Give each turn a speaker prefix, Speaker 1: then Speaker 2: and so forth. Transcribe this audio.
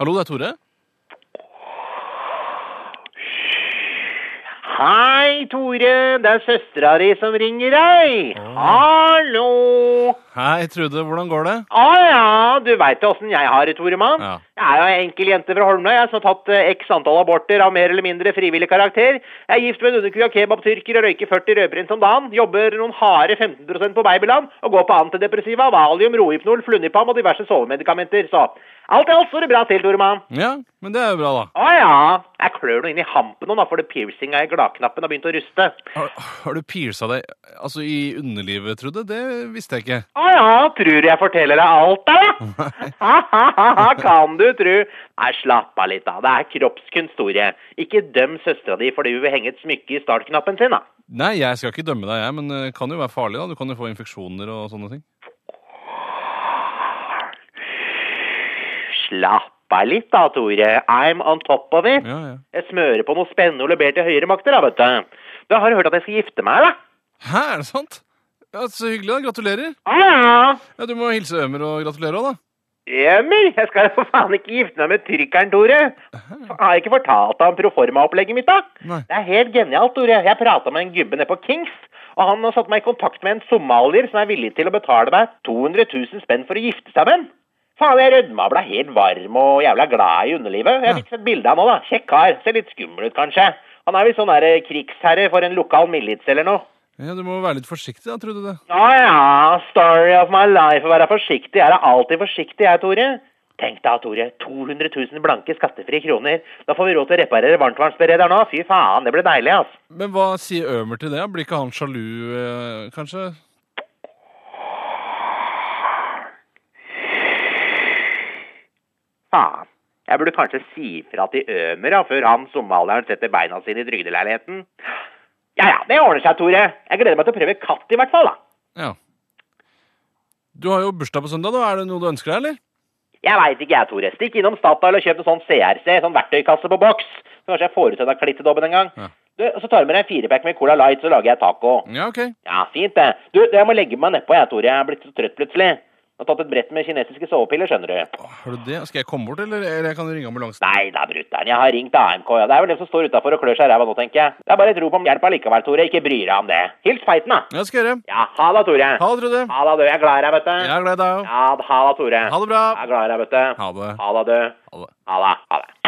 Speaker 1: Hallo, det er Tore.
Speaker 2: Hei, Tore. Det er søstera di som ringer deg. Hallo.
Speaker 1: Hei, Trude. Hvordan går det?
Speaker 2: Å ja, du veit åssen jeg har det, Toremann.
Speaker 1: Ja.
Speaker 2: Jeg er jo ei enkel jente fra Holmlia jeg, som har tatt eh, x antall aborter av mer eller mindre frivillig karakter. Jeg er gift med en underkua kebabtyrker og røyker 40 rødprins om dagen. Jobber noen harde 15 på babyland og går på antidepressiva, valium, rohypnol, flunipam og diverse sovemedikamenter. Så alt i alt står det bra til, Toremann.
Speaker 1: Ja, men det er jo bra, da.
Speaker 2: Å ja. Jeg klør nå inn i hampen nå, da, for det piercinga i gladknappen har begynt å ruste.
Speaker 1: Har, har du piersa deg altså, i underlivet, Trude? Det visste jeg ikke.
Speaker 2: Å ja, tror du jeg forteller deg alt, da? Ha-ha-ha, kan du tru? Nei, slapp av litt, da. Det er kroppskunst, Tore. Ikke døm søstera di fordi hun vil henge et smykke i startknappen sin, da.
Speaker 1: Nei, jeg skal ikke dømme deg, jeg, men det kan jo være farlig. da. Du kan jo få infeksjoner og sånne ting.
Speaker 2: Slapp av litt, da, Tore. I'm on top of it.
Speaker 1: Ja, ja.
Speaker 2: Jeg smører på noe spennende og leverer til høyere makter, da, vet du. Du har hørt at jeg skal gifte meg, da?
Speaker 1: Hæ, er det sant? Ja, Så hyggelig, da. Gratulerer.
Speaker 2: Å ja.
Speaker 1: Ja, Du må hilse Ømer og gratulere òg, da.
Speaker 2: Emil, jeg skal jo for faen ikke gifte meg med tyrkeren, Tore. Faen, Har jeg ikke fortalt deg om proforma-opplegget mitt, da?
Speaker 1: Nei.
Speaker 2: Det er helt genialt, Tore. Jeg prata med en gubbe nede på Kings, og han har satt meg i kontakt med en somalier som er villig til å betale meg 200 000 spenn for å gifte seg med en. Faen, jeg rødma og ble helt varm og jævla glad i underlivet. Jeg fikk et bilde av han nå, da. Kjekk kar. Ser litt skummel ut, kanskje. Han er visst sånn der eh, krigsherre for en lokal milits eller noe.
Speaker 1: Ja, Du må være litt forsiktig, da, Trude. det.
Speaker 2: Å ja, story of my life. Å være forsiktig. Jeg er alltid forsiktig, jeg, Tore. Tenk da, Tore. 200 000 blanke skattefrie kroner. Da får vi råd til å reparere varmtvannsberederen òg. Fy faen, det blir deilig, ass.
Speaker 1: Men hva sier Ømer til det? Blir ikke han sjalu, eh, kanskje?
Speaker 2: Faen. Jeg burde kanskje si fra til Ømer da, før han somalieren setter beina sine i trygdeleiligheten. Ja ja, det ordner seg, Tore. Jeg gleder meg til å prøve katt i hvert fall, da.
Speaker 1: Ja. Du har jo bursdag på søndag, da. Er det noe du ønsker deg, eller?
Speaker 2: Jeg veit ikke jeg, Tore. Stikk innom Statoil og kjøp en sånn CRC, sånn verktøykasse på boks. Så kanskje jeg får ut denne klittedobben en gang.
Speaker 1: Ja.
Speaker 2: Du, og så tar du med deg en firepack med Cola Light, så lager jeg taco.
Speaker 1: Ja, ok.
Speaker 2: Ja, fint det. Du, jeg må legge meg nedpå jeg, Tore. Jeg er blitt så trøtt plutselig. Jeg har tatt et brett med kinesiske sovepiller, skjønner du.
Speaker 1: Har du det? Skal jeg komme bort, eller, eller jeg kan ringe ambulansen?
Speaker 2: Nei da, brutter'n. Jeg har ringt AMK. Ja. Det er vel dem som står utafor og klør seg i ræva nå, tenker jeg. Det er bare et rop om hjelp allikevel, Tore. Ikke bry deg om det. Hils feiten, da.
Speaker 1: Ja, det skal jeg gjøre.
Speaker 2: Ja, ha det, Tore.
Speaker 1: Ha det, Trude.
Speaker 2: Ha det, du. Jeg er glad i deg, vet
Speaker 1: Jeg
Speaker 2: du.
Speaker 1: er glad i deg òg.
Speaker 2: Ja, ha det, Tore.
Speaker 1: Ha det bra.
Speaker 2: Jeg er glad i deg, vet du.
Speaker 1: Ha det.
Speaker 2: Ha det, du.
Speaker 1: Ha det.
Speaker 2: Ha det. Ha det.